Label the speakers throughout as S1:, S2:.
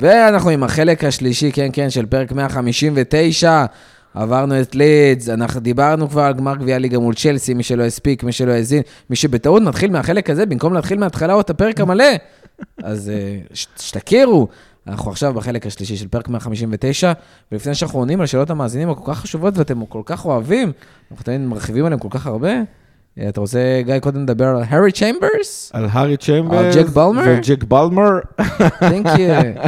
S1: ואנחנו עם החלק השלישי, כן, כן, של פרק 159. עברנו את לידס, אנחנו דיברנו כבר על גמר גביע ליגה מול צ'לסי, מי שלא הספיק, מי שלא האזין, מי שבטעות נתחיל מהחלק הזה, במקום להתחיל מההתחלה או את הפרק המלא. אז אה, ש- שתכירו, אנחנו עכשיו בחלק השלישי של פרק 159, ולפני שאנחנו עונים על שאלות המאזינים הכל כך חשובות ואתם כל כך אוהבים, אנחנו תמיד מרחיבים עליהם כל כך הרבה. אה, אתה רוצה, גיא, קודם לדבר על הארי צ'יימברס?
S2: על הארי צ'מברס.
S1: על ג'ק בלמר?
S2: ועל ג'ק בלמר.
S1: Thank you.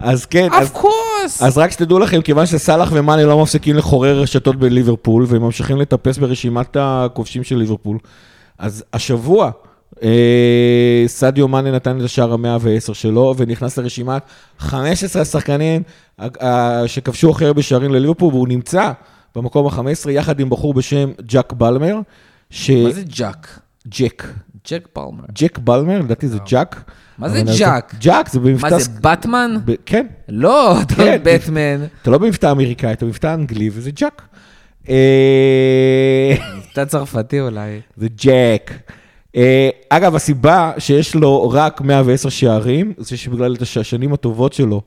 S2: אז כן, אז,
S1: Of course!
S2: אז רק שתדעו לכם, כיוון שסאלח ומאני לא מפסיקים לחורר רשתות בליברפול, והם ממשיכים לטפס ברשימת הכובשים של ליברפול, אז השבוע אה, סעדיו מאני נתן את השער ה-110 שלו, ונכנס לרשימת 15 השחקנים ה- ה- אה, שכבשו הכי הרבה שערים לליברפול, והוא נמצא במקום ה-15 יחד עם בחור בשם ג'ק בלמר, ש...
S1: מה זה ג'אק?
S2: ג'ק.
S1: ג'ק פלמר.
S2: ג'ק בלמר, לדעתי זה ג'ק.
S1: מה זה
S2: אבל-
S1: ג'ק?
S2: ג'ק זה במבטא...
S1: מה זה,
S2: סק-
S1: באטמן?
S2: ב- כן,
S1: לא, אתה לא
S2: כן.
S1: בטמן.
S2: אתה לא במבטא אמריקאי, אתה במבטא אנגלי, וזה ג'ק. אה,
S1: אתה צרפתי אולי.
S2: זה ג'ק. אה, אגב, הסיבה שיש לו רק 110 שערים, זה שבגלל את הש- השנים הטובות שלו,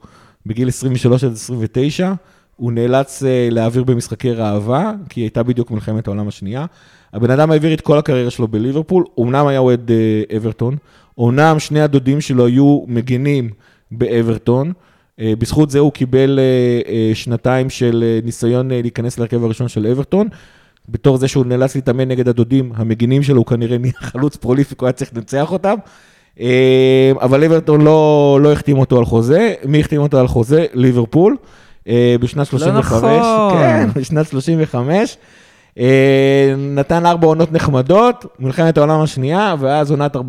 S2: בגיל 23 עד 29, הוא נאלץ אה, להעביר במשחקי ראווה, כי הייתה בדיוק מלחמת העולם השנייה. הבן אדם העביר את כל הקריירה שלו בליברפול, אמנם היה אוהד אה, אברטון, אמנם שני הדודים שלו היו מגינים באברטון, אה, בזכות זה הוא קיבל אה, אה, שנתיים של אה, ניסיון אה, להיכנס להרכב הראשון של אברטון. בתור זה שהוא נאלץ להתאמן נגד הדודים, המגינים שלו, הוא כנראה נהיה חלוץ פרוליפיק, הוא היה צריך לנצח אותם. אה, אבל אברטון לא, לא החתים אותו על חוזה. מי החתים אותו על חוזה? ליברפול. אה, בשנת 35.
S1: נכון.
S2: כן, בשנת 35. אה, נתן ארבע עונות נחמדות, מלחמת העולם השנייה, ואז עונת 46-47.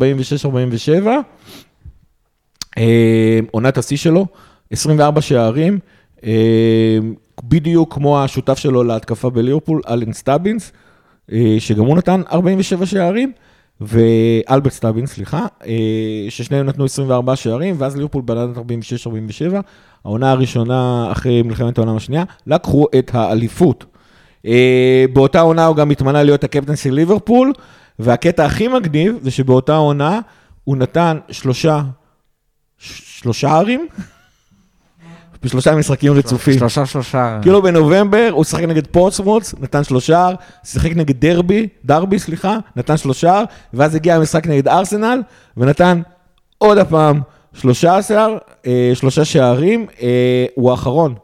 S2: אה, עונת השיא שלו, 24 שערים, אה, בדיוק כמו השותף שלו להתקפה בליברפול, אלן סטאבינס, אה, שגם הוא נתן 47 שערים, ואלברט סטאבינס, סליחה, אה, ששניהם נתנו 24 שערים, ואז ליברפול בלנת 46-47, העונה הראשונה אחרי מלחמת העולם השנייה, לקחו את האליפות. אה, באותה עונה הוא גם התמנה להיות הקפטן של ליברפול, והקטע הכי מגניב זה שבאותה עונה הוא נתן שלושה ש- שלושה ערים? בשלושה משחקים רצופים.
S1: שלושה שלושה.
S2: כאילו בנובמבר הוא שיחק נגד פורצמוץ, נתן שלושה, ער, שיחק נגד דרבי, דרבי סליחה, נתן שלושה, ער, ואז הגיע המשחק נגד ארסנל, ונתן עוד הפעם 13, אה, שלושה שערים, אה, הוא האחרון,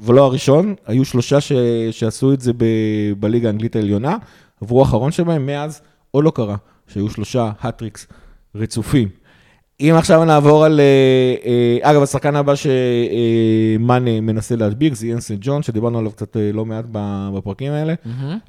S2: ולא הראשון, היו שלושה ש... שעשו את זה ב... בליגה האנגלית העליונה, והוא האחרון שבהם, מאז עוד לא קרה, שהיו שלושה הטריקס רצופים. אם עכשיו נעבור על... אה, אה, אגב, השחקן הבא שמאנה מנסה להדביק זה איאן סנט ג'ון, שדיברנו עליו קצת אה, לא מעט ב- בפרקים האלה.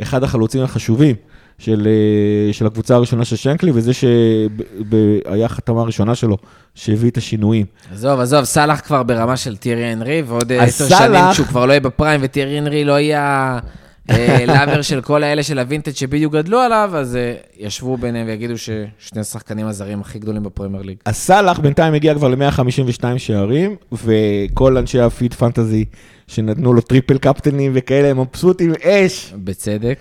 S2: אחד החלוצים החשובים של, אה, של הקבוצה הראשונה של שנקלי, וזה שהיה החתמה הראשונה שלו, שהביא את השינויים.
S1: עזוב, עזוב, סאלח כבר ברמה של טירי הנרי, ועוד אה,
S2: אז
S1: עשר שנים
S2: סאלח-
S1: שהוא כבר לא יהיה בפריים, וטירי הנרי לא יהיה הלאבר של כל האלה של הווינטג' שבדיוק גדלו עליו, אז אה, ישבו ביניהם ויגידו ששני השחקנים הזרים הכי גדולים בפרמייר ליג.
S2: אז סאלח בינתיים הגיע כבר ל-152 שערים, וכל אנשי הפיד פנטזי שנתנו לו טריפל קפטנים וכאלה, הם מבסוטים אש.
S1: בצדק.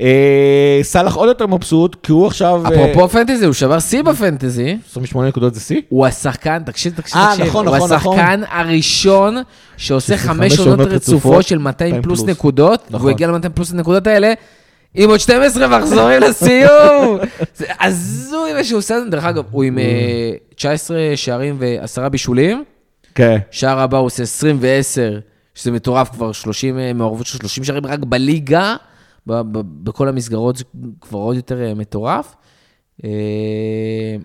S2: אה, סאלח עוד יותר מבסוט, כי הוא עכשיו... אה,
S1: אפרופו פנטזי, הוא שבר שיא בפנטזי.
S2: 28 נקודות זה שיא?
S1: הוא השחקן, תקשיב, תקשיב,
S2: אה,
S1: תקשיב.
S2: נכון,
S1: הוא
S2: נכון, נכון.
S1: השחקן הראשון שעושה
S2: שזה
S1: חמש עונות רצופות של 200 פלוס נקודות,
S2: נכון.
S1: והוא הגיע ל-200 פלוס הנקודות האלה. עם עוד 12 מחזורים לסיום! זה הזוי מה שהוא עושה, את זה. דרך אגב, הוא עם אה, 19 שערים ועשרה בישולים,
S2: כן.
S1: שער הבא הוא עושה 20 ו-10, שזה מטורף כבר, 30, אה, מעורבות של 30 שערים רק בליגה, ב- ב- בכל המסגרות זה כבר עוד יותר אה, מטורף. אה,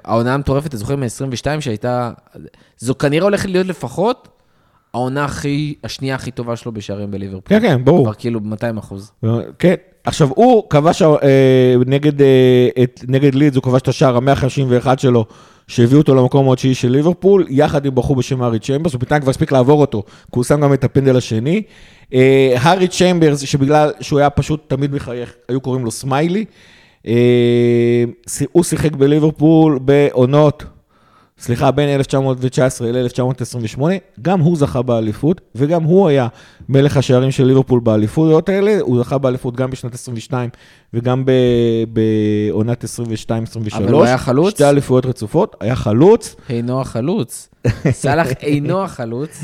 S1: העונה המטורפת, אתה זוכר מ-22 שהייתה, זו כנראה הולכת להיות לפחות העונה הכי, השנייה הכי טובה שלו בשערים בליברפול.
S2: כן, כן, ברור.
S1: כבר כאילו 200 אחוז.
S2: כן. עכשיו, הוא כבש אה, נגד, אה, את, נגד לידס, הוא כבש את השער ה-151 שלו, שהביאו אותו למקום התשיעי של ליברפול, יחד עם בחור בשם הארי צ'מברס, הוא בינתיים כבר הספיק לעבור אותו, כי הוא שם גם את הפנדל השני. אה, הארי צ'מברס, שבגלל שהוא היה פשוט תמיד מחייך, היו קוראים לו סמיילי, אה, הוא שיחק בליברפול בעונות סליחה, בין 1919 ל-1928, גם הוא זכה באליפות, וגם הוא היה מלך השערים של ליברפול באליפויות האלה, הוא זכה באליפות גם בשנת 22 וגם ב- בעונת 22-23.
S1: אבל הוא היה חלוץ?
S2: שתי אליפויות רצופות, היה חלוץ,
S1: אינו החלוץ. סאלח אינו החלוץ,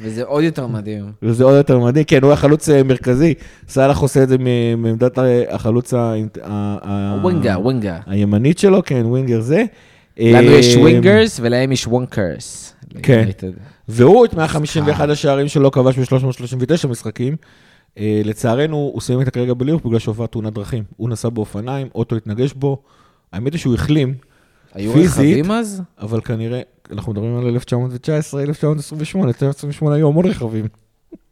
S1: וזה עוד יותר מדהים.
S2: וזה עוד יותר מדהים, כן, הוא היה חלוץ אה, מרכזי, סאלח עושה את זה מ- מעמדת ה- החלוץ ה- ה- ה-
S1: ווינגה, ווינגה.
S2: הימנית שלו, כן, ווינגר זה.
S1: לנו יש
S2: אה,
S1: ווינגרס ולהם יש וונקרס.
S2: כן.
S1: ליונייטד.
S2: והוא את 151 השערים שלו כבש ב-339 משחקים. אה, לצערנו, הוא סיים את הקריירה בלירפ בגלל שהופעה תאונת דרכים. הוא נסע באופניים, אוטו התנגש בו. האמת היא שהוא החלים,
S1: היו
S2: פיזית.
S1: רכבים אז?
S2: אבל כנראה, אנחנו מדברים על 1919, 1928, 1928 היו המון רכבים.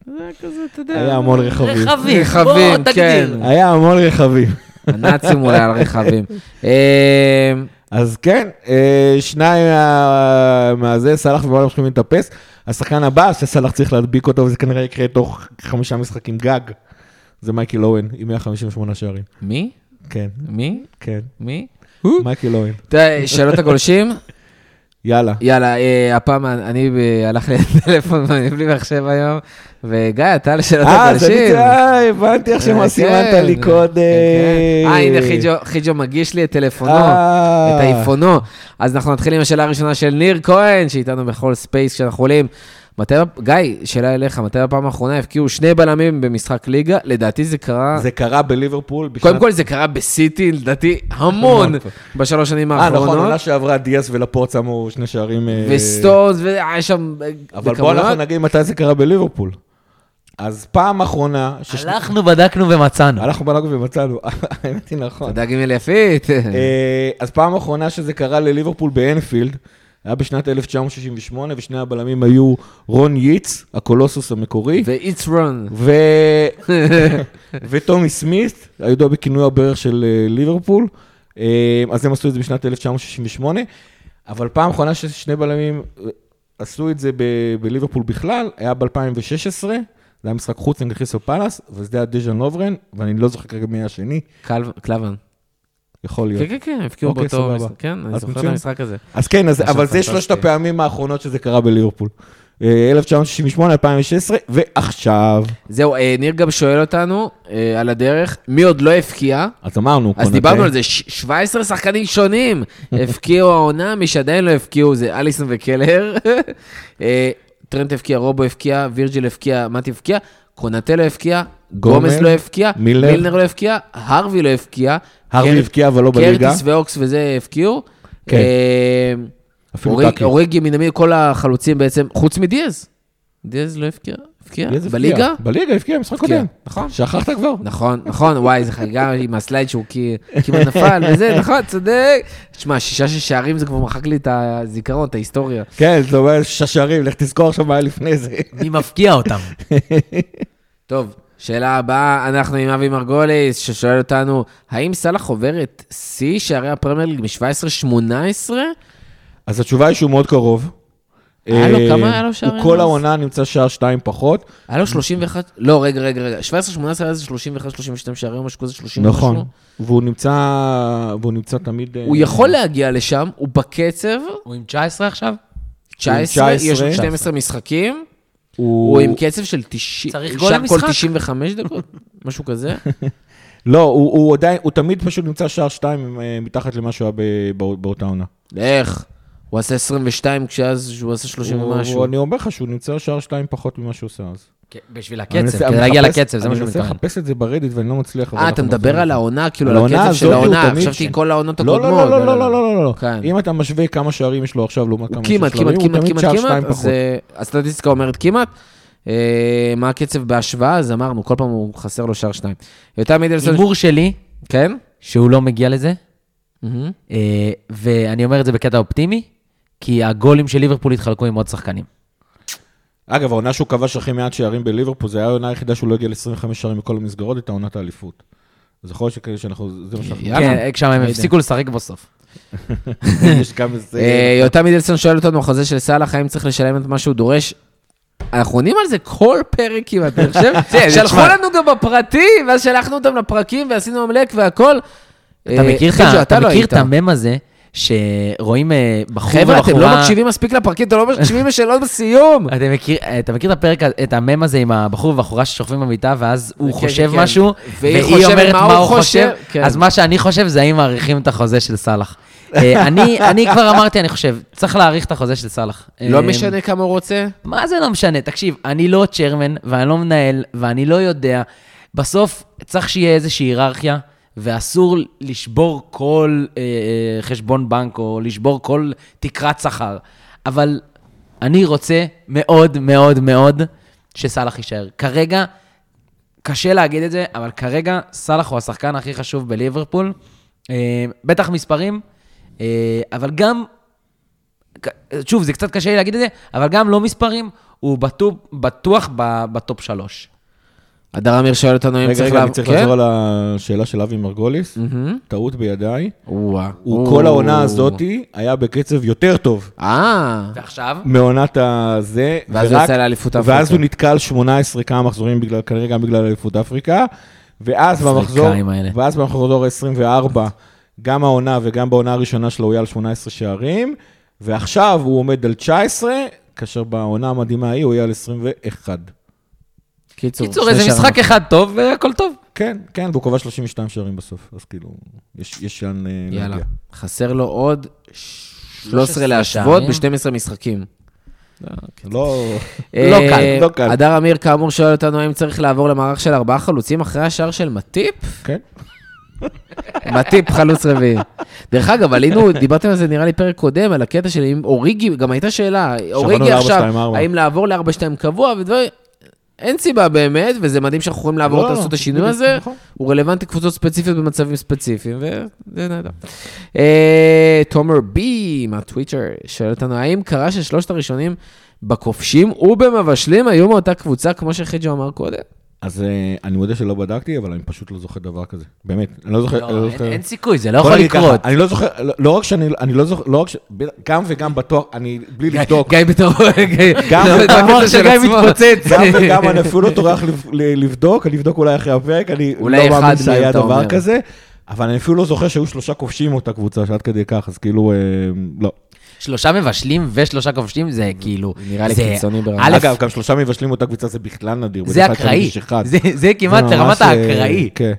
S1: זה כזה, אתה יודע.
S2: היה המון רכבים.
S3: רכבים,
S1: אה, רכבים,
S3: בוא תגדיר.
S1: כן.
S2: היה המון רכבים.
S1: הנאצים אולי על רכבים. אה,
S2: אז כן, אה, שניים מה- מהזה, סאלח ובאללה הולכים להתאפס. השחקן הבא שסאלח צריך להדביק אותו, וזה כנראה יקרה תוך חמישה משחקים גג. זה מייקל אוהן, עם 158 שערים.
S1: מי?
S2: כן,
S1: מי?
S2: כן.
S1: מי? אה,
S2: מייקל אוהן.
S1: אתה- שאלות הגולשים?
S2: יאללה.
S1: יאללה, אה, הפעם אני ב- הלך לי הטלפון ואני בלי מחשב היום, וגיא, אתה על שאלות
S2: אה, אז
S1: הגולשים.
S2: אני... אה, הבנתי עכשיו
S1: אה,
S2: מה
S1: כן,
S2: סימנת לי
S1: כן,
S2: קודם.
S1: כן. אה, הנה, חיג'ו- חיג'ו מגיש לי את טלפונו.
S2: אה.
S1: את אייפונו. אז אנחנו נתחיל עם השאלה הראשונה של ניר כהן, שאיתנו בכל ספייס כשאנחנו עולים. מתי, גיא, שאלה אליך, מתי בפעם האחרונה הבקיעו שני בלמים במשחק ליגה? לדעתי זה קרה...
S2: זה קרה בליברפול בשנת...
S1: קודם כל זה קרה בסיטי, לדעתי, המון
S2: המון.
S1: בשלוש שנים
S2: אה, נכון,
S1: האחרונות.
S2: עונה שעברה דיאס ולפורט שמו שני שערים... אה,
S1: וסטונס, והיה שם... אה,
S2: אבל בואו
S1: בכמויות.
S2: אנחנו נגיד מתי זה קרה בליברפול. אז פעם אחרונה...
S1: כן.
S2: שש-
S3: הלכנו, בדקנו ומצאנו.
S2: הלכנו בלגו ומצאנו, האמת היא נכון.
S1: תודה גימל יפית.
S2: אה, אז פעם אחרונה שזה קרה לליברפול באנפילד, היה בשנת 1968, ושני הבלמים היו רון ייץ, הקולוסוס המקורי,
S1: ו-It's run.
S2: ו... וטומי סמית, הידוע בכינוי הברך של אה, ליברפול, אה, אז הם עשו את זה בשנת 1968, אבל פעם אחרונה ששני בלמים אה, עשו את זה ב- בליברפול בכלל, היה ב-2016, זה היה משחק חוץ נגד קריסטל פלאס, וזה היה דז'ן לוברן, ואני לא זוכר כרגע מי השני,
S1: קל- קלבן.
S2: יכול להיות.
S1: כן, כן, כן, הבקיעו
S2: אוקיי,
S1: באותו...
S2: סבבה.
S1: משחק. כן, אני
S2: אז
S1: זוכר את
S2: מצוין.
S1: המשחק הזה.
S2: אז כן, אז,
S1: משהו
S2: אבל זה
S1: פנטסטי.
S2: שלושת הפעמים האחרונות שזה קרה בליברפול. אה, 1968, 2016, ועכשיו.
S1: זהו, אה, ניר גם שואל אותנו אה, על הדרך, מי עוד לא הבקיע?
S2: אז אמרנו,
S1: אז
S2: קונאטה.
S1: דיברנו על זה, ש- 17 שחקנים שונים הבקיעו העונה, מי שעדיין לא הבקיעו זה אליסון וקלר. אה, טרנט הבקיע, רובו הבקיע, וירג'יל הבקיע, מתי הבקיע, קונאטה לא הבקיע,
S2: גומז,
S1: גומז לא הבקיע,
S2: מילר.
S1: מילנר לא הבקיע, הרווי לא הבקיע.
S2: הארווי
S1: קר-
S2: הבקיע, אבל לא בליגה.
S1: קרטיס ואוקס וזה הבקיעו.
S2: כן.
S1: אה,
S2: אפילו
S1: אוריג-
S2: טאקי.
S1: אוריגי, מנמי, כל החלוצים בעצם, חוץ מדיאז. דיאז לא הבקיע, הבקיע,
S2: איזה הפקיע?
S1: בליגה?
S2: בליגה, הבקיע, משחק
S1: הבקיע,
S2: קודם.
S1: נכון.
S2: שכחת כבר?
S1: נכון, נכון, וואי, זו חגיגה עם הסלייד שהוא כי- כמעט נפל וזה, נכון, צודק. תשמע, שישה שש שערים זה כבר מחק לי את הזיכרון, את ההיסטוריה.
S2: כן, זה אומר שש שערים, לך תזכור עכשיו מה היה לפני זה.
S3: מי מפקיע אותם?
S1: טוב, שאלה הבאה, אנחנו עם אבי מרגוליס, ששואל אותנו, האם סאלח עובר את שיא שערי הפרמייר ליג מ-17-18?
S2: אז התשובה היא שהוא מאוד קרוב.
S1: היה לו
S2: אה,
S1: כמה- היה לו
S2: הוא
S1: שערים אז?
S2: כל העונה נמצא שער שתיים פחות.
S1: היה לו 31, לא, רגע, רגע, רגע, 17-18 היה איזה 31, 32 שערים, משהו כזה, 30
S2: נכון.
S1: משהו.
S2: והוא נמצא, והוא נמצא תמיד... אה,
S1: הוא יכול להגיע לשם, הוא בקצב,
S3: הוא עם 19 עכשיו?
S1: 19, יש לו
S2: 19.
S1: 12 משחקים. הוא
S2: הוא
S1: עם קצב של 90,
S3: צריך
S1: הוא
S3: גול
S1: שר
S3: למשחק.
S1: כל 95 דקות, משהו כזה.
S2: לא, הוא, הוא עדיין, הוא תמיד פשוט נמצא שער שתיים אה, מתחת למה שהוא היה ב- בא- באותה עונה.
S1: לך, הוא עשה 22 כשאז הוא עשה 30
S2: הוא-
S1: ומשהו.
S2: הוא- אני אומר לך שהוא נמצא שער שתיים פחות ממה שהוא עושה אז.
S3: כן, בשביל
S2: אני
S1: כן,
S2: מנסה-
S3: הקצב, כדי
S2: אני
S3: להגיע
S2: מחפש-
S3: לקצב, זה מה שהוא
S2: אני מנסה
S3: מתכוון.
S2: לחפש את זה ברדיט ואני לא מצליח. אבל
S1: אה, אתה
S2: אנחנו
S1: מדבר
S2: מוצאים
S1: על
S2: את זה.
S1: העונה, כאילו, על
S2: על העונה
S1: הקצב של
S2: הזאת הוא
S1: העונה,
S2: תמיד
S1: חשבתי
S2: שם.
S1: כל העונות
S2: לא,
S1: הקודמות.
S2: לא, לא, לא, לא, לא, לא, לא, לא.
S1: כן.
S2: אם אתה משווה כמה שערים יש לו עכשיו לעומת כמה
S1: כמעט,
S2: שיש לו,
S1: כמעט,
S2: הוא
S1: כמעט,
S2: תמיד
S1: כמעט,
S2: שער
S1: כמעט,
S2: שתיים
S1: אז
S2: פחות.
S1: אה, הסטטיסטיקה אומרת כמעט. אה, מה הקצב בהשוואה? אז אמרנו, כל פעם הוא חסר לו שער שניים. יותם מידלסון,
S3: הימור שלי,
S1: כן?
S3: שהוא לא מגיע לזה,
S1: מהמם.
S3: אה, ואני אומר את זה בקטע אופטימי, כי הגולים של ליברפול התחלקו עם עוד שחקנים.
S2: אגב, העונה שהוא כבש הכי מעט שערים בליברפול, זו הייתה העונה היחידה שהוא לא הגיע ל-25 שערים בכל המסגרות, הייתה עונת האליפות. אז יכול להיות שכאלה שאנחנו, זה מה שאנחנו...
S1: יאללה.
S3: כן, כשם הם
S1: לא יודע.
S3: הפסיקו לשחק בסוף.
S2: יש כמה... זה-
S1: אה, יותם מידלסון שואל אותנו, החוזה של סאלח, האם צריך לשלם את מה שהוא דורש? אנחנו עונים על זה כל פרק כמעט, אני חושב.
S3: כן, תשמע.
S1: שלחו לנו גם בפרטי, ואז שלחנו אותם לפרקים ועשינו עמלק והכל.
S3: אתה
S1: אה,
S3: מכיר את
S1: חג'ו,
S3: ה- אתה
S1: לא
S3: מכיר
S1: היית.
S3: את המם הזה שרואים אה, בחור ובחורה...
S1: חבר'ה, אתם לא מקשיבים מספיק לפרקים, אתם לא מקשיבים לשאלות בסיום.
S3: אתם מכיר, אתה מכיר את הפרק, את המם הזה עם הבחור והבחורה ששוכבים במיטה, ואז הוא
S1: כן,
S3: חושב
S1: כן.
S3: משהו,
S1: והיא
S3: והיא
S1: חושבת
S3: אומרת מה הוא חושב,
S1: כן.
S3: אז מה שאני חושב זה האם מאריכים את החוזה של סאלח. אה, אני אני כבר אמרתי, אני חושב, צריך להאריך את החוזה של סאלח.
S1: לא
S3: אה,
S1: משנה כמה הוא רוצה?
S3: מה זה לא משנה? תקשיב, אני לא צ'רמן, ואני לא מנהל, ואני לא יודע. בסוף צריך שיהיה איזושהי היררכיה, ואסור לשבור כל אה, אה, חשבון בנק, או לשבור כל תקרת שכר. אבל אני רוצה מאוד מאוד מאוד שסאלח יישאר. כרגע, קשה להגיד את זה, אבל כרגע סאלח הוא השחקן הכי חשוב בליברפול. אה, בטח מספרים, אה, אבל גם ק- שוב, זה קצת קשה לי להגיד את זה, אבל גם לא מספרים, הוא בטופ, בטוח ב, בטופ שלוש.
S1: הדר אמיר שואל אותנו אם
S2: רגע,
S1: צריך
S2: רגע, אני
S1: לעבור... כן?
S2: צריך לחזור על השאלה של אבי מרגוליס.
S1: מהמם.
S2: טעות בידיי.
S1: וואה.
S2: הוא
S1: או.
S2: כל העונה הזאתי היה בקצב יותר טוב
S1: אה,
S3: ועכשיו?
S2: מעונת הזה.
S1: ואז הוא
S2: ורק-
S1: יצא לאליפות
S2: ואז
S1: אפריקה.
S2: הוא נתקע על 18 כמה מחזורים, בגלל- כנראה גם בגלל אליפות אפריקה. ואז במחזור,
S3: האפריקאים האלה.
S2: ואז במחזור 24, גם העונה וגם בעונה הראשונה שלו הוא היה על 18 שערים, ועכשיו הוא עומד על 19, כאשר בעונה המדהימה ההיא הוא היה על 21.
S1: קיצור,
S3: קיצור,
S1: שני
S3: איזה
S1: שערים.
S3: משחק אחד טוב והכל טוב.
S2: כן, כן, והוא כובע 32 שערים בסוף, אז כאילו, יש, יש לאן אה, להגיע.
S1: יאללה. חסר לו עוד 13 להשוות
S3: שערים.
S1: ב-12 משחקים.
S2: לא...
S3: לא
S1: אוקיי. אה,
S3: קל,
S2: לא קל.
S1: הדר אמיר כאמור שואל אותנו האם צריך לעבור למערך של ארבעה חלוצים אחרי השער של מטיפ?
S2: כן.
S1: מטיפ חלוץ רביעי. דרך אגב, עלינו, דיברתם על זה נראה לי פרק קודם, על הקטע של אם אוריגי, גם הייתה שאלה, אוריגי
S2: ל-
S1: עכשיו,
S2: 4-2-4.
S1: האם לעבור ל-4-2 קבוע ודברים... אין סיבה באמת, וזה מדהים שאנחנו יכולים לעבור
S2: לא,
S1: את לעשות את השינוי
S2: בדיוק,
S1: הזה.
S2: נכון.
S1: הוא רלוונטי קבוצות ספציפיות במצבים ספציפיים, וזה נהדר. אה, תומר בי מהטוויטר שואל אותנו, האם קרה ששלושת הראשונים בכובשים ובמבשלים היו מאותה קבוצה, כמו שחיג'ו אמר קודם?
S2: אז אה, אני מודה שלא בדקתי, אבל אני פשוט לא זוכר דבר כזה. באמת, אני לא זוכר... אני
S3: לא,
S2: לא
S3: אין-
S2: זוכר-
S3: אין סיכוי, זה לא
S2: בוא
S3: יכול
S2: נגיד ככה,
S3: לקרות.
S2: אני לא זוכר, לא- לא רק שאני, אני לא זוכר, לא רק ש... ב- גם וגם בטוח, אני בלי לבדוק.
S1: גיא בתור...
S2: גם-
S3: המוח של גיא מתפוצץ.
S2: גם וגם אני אפילו לא טורח לב- ל- לבדוק, אני אבדוק אולי אחרי הפרק, אני
S1: אולי
S2: לא מאמין
S1: אחד מהם,
S2: שהיה
S1: אתה אומר.
S2: דבר כזה, אבל אני אפילו לא זוכר שהיו שלושה כובשים מאותה קבוצה, שעד כדי כך, אז כאילו, אה, לא.
S3: שלושה מבשלים ושלושה כובשים זה כאילו...
S1: נראה לי
S3: זה-
S1: קיצוני ברמה.
S3: א',
S2: אגב, גם שלושה מבשלים מאותה קבוצה זה בכלל נדיר.
S3: זה
S2: בדרך כלל
S3: אקראי.
S2: יש אחד.
S3: זה- זה כמעט
S2: ממש,
S3: לרמת
S2: אה,
S3: האקראי.
S2: כן,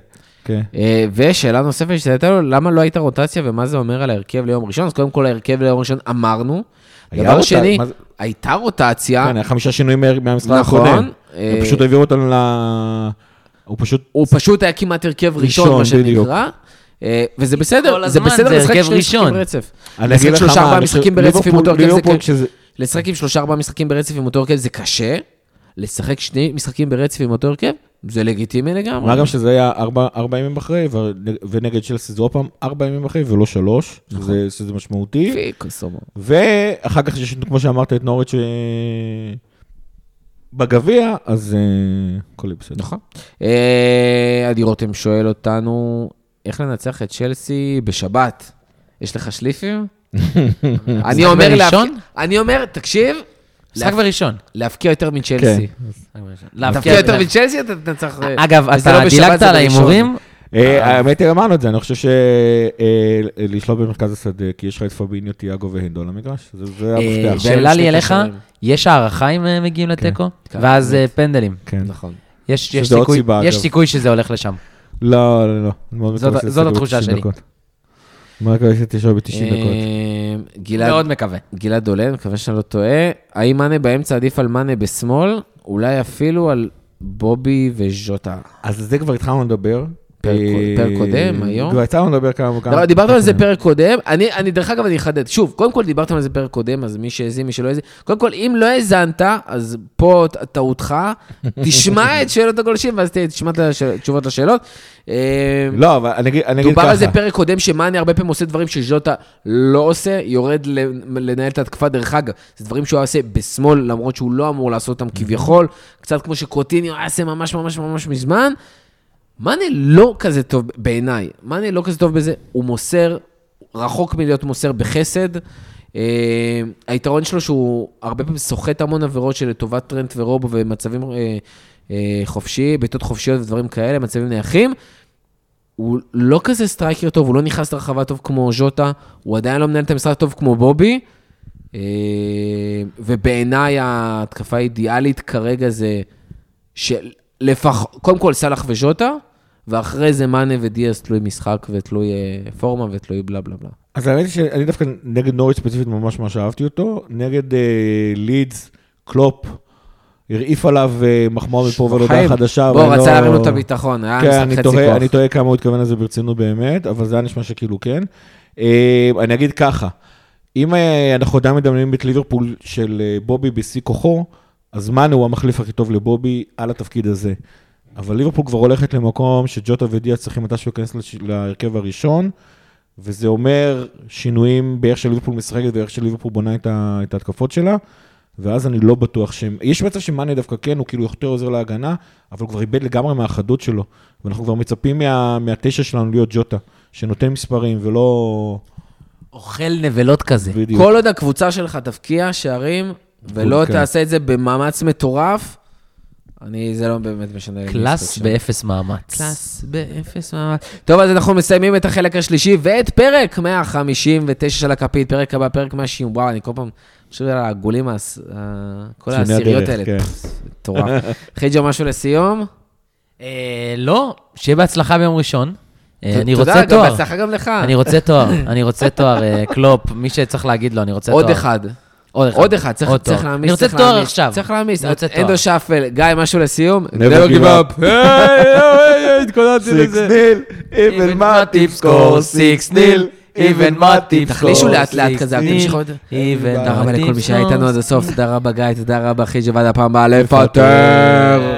S2: כן.
S1: אה, ושאלה נוספת שהייתה לו, למה לא הייתה רוטציה ומה זה אומר על ההרכב ליום ראשון? אז קודם כל ההרכב ליום ראשון אמרנו.
S2: היה
S1: דבר
S2: רוטציה,
S1: שני,
S2: מה זה-
S1: הייתה רוטציה,
S2: כן, היה חמישה שינויים מה- מהמשחק
S1: אה? נכון,
S2: האחרון.
S1: אה,
S2: הם פשוט העבירו אותנו ל... הוא פשוט...
S1: הוא פשוט היה כמעט הרכב ראשון, מה
S2: ראשון, בדיוק.
S1: שנקרא. אה, וזה בסדר,
S3: כל
S1: זה
S3: הזמן זה
S1: בסדר לשחק
S3: הרכב
S1: שני משחקים
S3: ראשון.
S1: ברצף.
S2: אני אגיד
S1: לשחק
S2: לך
S1: שלושה
S2: מה,
S1: ארבעה
S2: אני חושב-
S1: משחקים ברצף עם אותו
S2: ליברפול-
S1: הרכב זה
S2: ליברפול
S1: קשה.
S2: כשזה-
S1: לשחק עם שלושה ארבעה משחקים ברצף עם אותו הרכב זה קשה, לשחק שני משחקים ברצף עם אותו הרכב זה לגיטימי
S2: מה
S1: לגמרי.
S2: גם שזה היה ארבע ארבע ימים אחרי, ו- ונגד שלסי זה עוד פעם ארבע ימים אחרי ולא שלוש,
S1: נכון.
S2: שזה- שזה משמעותי.
S1: פיקוס, אומר.
S2: ואחר כך יש, לנו, כמו שאמרת, את נוריץ' אה, בגביע, אז אה, הכל יהיה בסדר.
S1: נכון. אה, עדי רותם שואל אותנו, איך לנצח את צ'לסי בשבת? יש לך שליפים? אני אומר,
S3: בראשון?
S1: להפק- אני אומר, תקשיב,
S3: משחק
S1: להפ-
S3: בראשון.
S1: להפקיע יותר מצ'לסי. להפקיע יותר מצ'לסי, אתה תנצח...
S3: אגב,
S1: וזה
S3: אתה
S1: לא בשבת,
S3: דילגת
S1: זה
S3: על
S1: בראשון.
S3: ההימורים,
S2: אה, האמת היא, אמרנו את זה, אני חושב שלשלוט במרכז השדה, כי יש לך את פביניו, תיאגו והנדו למגרש, זה- זה
S3: אה,
S2: המפתח.
S3: שאלה לי
S1: שני
S3: אליך,
S1: קשרים.
S3: יש הערכה אם אה, מגיעים לתיקו?
S1: כן,
S3: ואז אה, פנדלים.
S2: כן.
S1: נכון.
S3: יש יש
S2: שזה עוד
S3: סיכוי-
S2: סיבה,
S3: יש
S2: אגב.
S3: סיכוי שזה הולך לשם.
S2: לא, לא, לא. אני מאוד
S3: זאת-
S2: מקווה שזה
S3: זאת
S2: יסתיים
S3: התחושה
S2: ב- 90
S3: שלי.
S2: דקות. מאוד מקווה שתשאר ב-90 דקות.
S1: אה, גלעד-
S3: מאוד מקווה.
S1: גלעד דולן, מקווה שאני לא טועה. האם מאנה באמצע עדיף על מאנה בשמאל? אולי אפילו על בובי וז'וטה.
S2: אז זה כבר התחלנו לדבר.
S1: פרק-
S2: אה,
S1: פרק קודם, היום?
S2: כבר יצאנו לדבר כמה... כמה-
S1: לא, דיברתם על זה פרק קודם, אני, אני דרך אגב, אני אחדד. שוב, קודם כל דיברתם על זה פרק קודם, אז מי שהאזין, מי שלא האזין. קודם כל, אם לא האזנת, אז פה ט- טעותך, תשמע את שאלות הגולשים, ואז ת- תשמע את השאל- תשובות לשאלות. אה,
S2: לא, אבל אני אגיד אני אגיד
S1: דובר
S2: ככה.
S1: על זה פרק קודם, שמאני הרבה פעמים עושה דברים שז'וטה לא עושה, יורד ל- לנהל את ההתקפה. דרך אגב, זה דברים שהוא היה עושה בשמאל, למרות שהוא לא אמור לעשות אותם כביכול, קצת כמו שקוטיניו היה עושה ממש ממש ממש מזמן. מאנה לא כזה טוב בעיניי, מאנה לא כזה טוב בזה, הוא מוסר, רחוק מלהיות מוסר בחסד. אה, היתרון שלו שהוא הרבה פעמים סוחט המון עבירות שלטובת טרנט ורובו ומצבים אה, אה, חופשי, בעיטות חופשיות ודברים כאלה, מצבים נייחים. הוא לא כזה סטרייקר טוב, הוא לא נכנס לרחבה טוב כמו ז'וטה, הוא עדיין לא מנהל את המשחק טוב כמו בובי, אה, ובעיניי ההתקפה האידיאלית כרגע זה של לפח... קודם כל סאלח וז'וטה, ואחרי זה מאנה ודיאס תלוי משחק ותלוי אה, פורמה ותלוי בלה בלה בלה.
S2: אז האמת היא שאני דווקא נגד נוריץ' ספציפית ממש ממש אהבתי אותו, נגד אה, לידס, קלופ, הרעיף עליו אה, מחמאה מפה ולהודעה
S1: חיים,
S2: חדשה.
S1: בוא,
S2: ואני
S1: רצה
S2: לא-
S1: להרים לו את הביטחון, היה
S2: כן,
S1: משחק
S2: אני
S1: חצי
S2: תוהה-
S1: כוח.
S2: אני תוהה כמה הוא התכוון לזה ברצינות באמת, אבל זה היה נשמע שכאילו כן. אה, אני אגיד ככה, אם אה, אנחנו עדיין מדמיינים את ליברפול של אה, בובי בשיא כוחו, אז מאנה הוא המחליף הכי טוב לבובי על התפקיד הזה. אבל ליברפול כבר הולכת למקום שג'וטה ודיה צריכים מתישהו להיכנס לש- להרכב הראשון, וזה אומר שינויים באיך שליברפול משחקת ואיך שליברפול בונה את, ה, את ההתקפות שלה, ואז אני לא בטוח שהם... יש מצב שמאנה דווקא כן, הוא כאילו יותר עוזר להגנה, אבל הוא כבר איבד לגמרי מהחדות שלו, ואנחנו כבר מצפים מה, מהתשע שלנו להיות ג'וטה, שנותן מספרים ולא...
S3: אוכל נבלות כזה.
S2: בדיוק.
S1: כל עוד הקבוצה שלך תבקיע שערים, ולא
S2: כן.
S1: תעשה את זה במאמץ מטורף, אני, זה לא באמת משנה. לי מי
S3: קלאס
S1: ישחק שם.
S3: באפס מאמץ.
S1: קלאס באפס מאמץ. טוב, אז אנחנו מסיימים את החלק השלישי ואת פרק 159 של הכפית, פרק הבא, פרק 160, וואו, אני כל פעם חושב על העגולים, הס- ה- כל
S2: ציוני
S1: העשיריות
S2: הדרך,
S1: האלה.
S2: כן.
S1: מטורף. חיג'ו, משהו לסיום?
S3: אה, לא, שיהיה בהצלחה ביום ראשון. אה,
S1: ת-
S3: אני
S1: תודה,
S3: רוצה
S1: גם
S3: תואר.
S1: בהצלחה גם לך.
S3: אני רוצה תואר, אני רוצה תואר, אה, קלופ, מי שצריך להגיד לו, אני רוצה תואר.
S1: עוד אחד.
S3: עוד אחד.
S1: עוד אחד, צריך- צריך
S3: תואר.
S1: להעמיס.
S3: אני רוצה
S1: צריך
S3: תואר
S1: להעמיס.
S3: עכשיו.
S1: צריך להעמיס.
S3: אני רוצה תואר.
S1: אנדו שפל, גיא, משהו לסיום?
S2: Never give up.
S1: היי, היי, היי, התכוננתי לזה.
S2: ניל,
S3: Even Matip score, six nil. Even Matip
S1: תחלישו
S3: score,
S1: לאט לאט
S3: six
S1: כזה,
S3: nil.
S1: תמשיך עוד.
S3: Even
S1: תודה רבה
S3: Matip
S1: לכל מי שהיה
S3: score,
S1: איתנו עד הסוף, תודה רבה גיא, תודה רבה חיג'י, ועד הפעם הבאה לפטר.
S2: לפטר.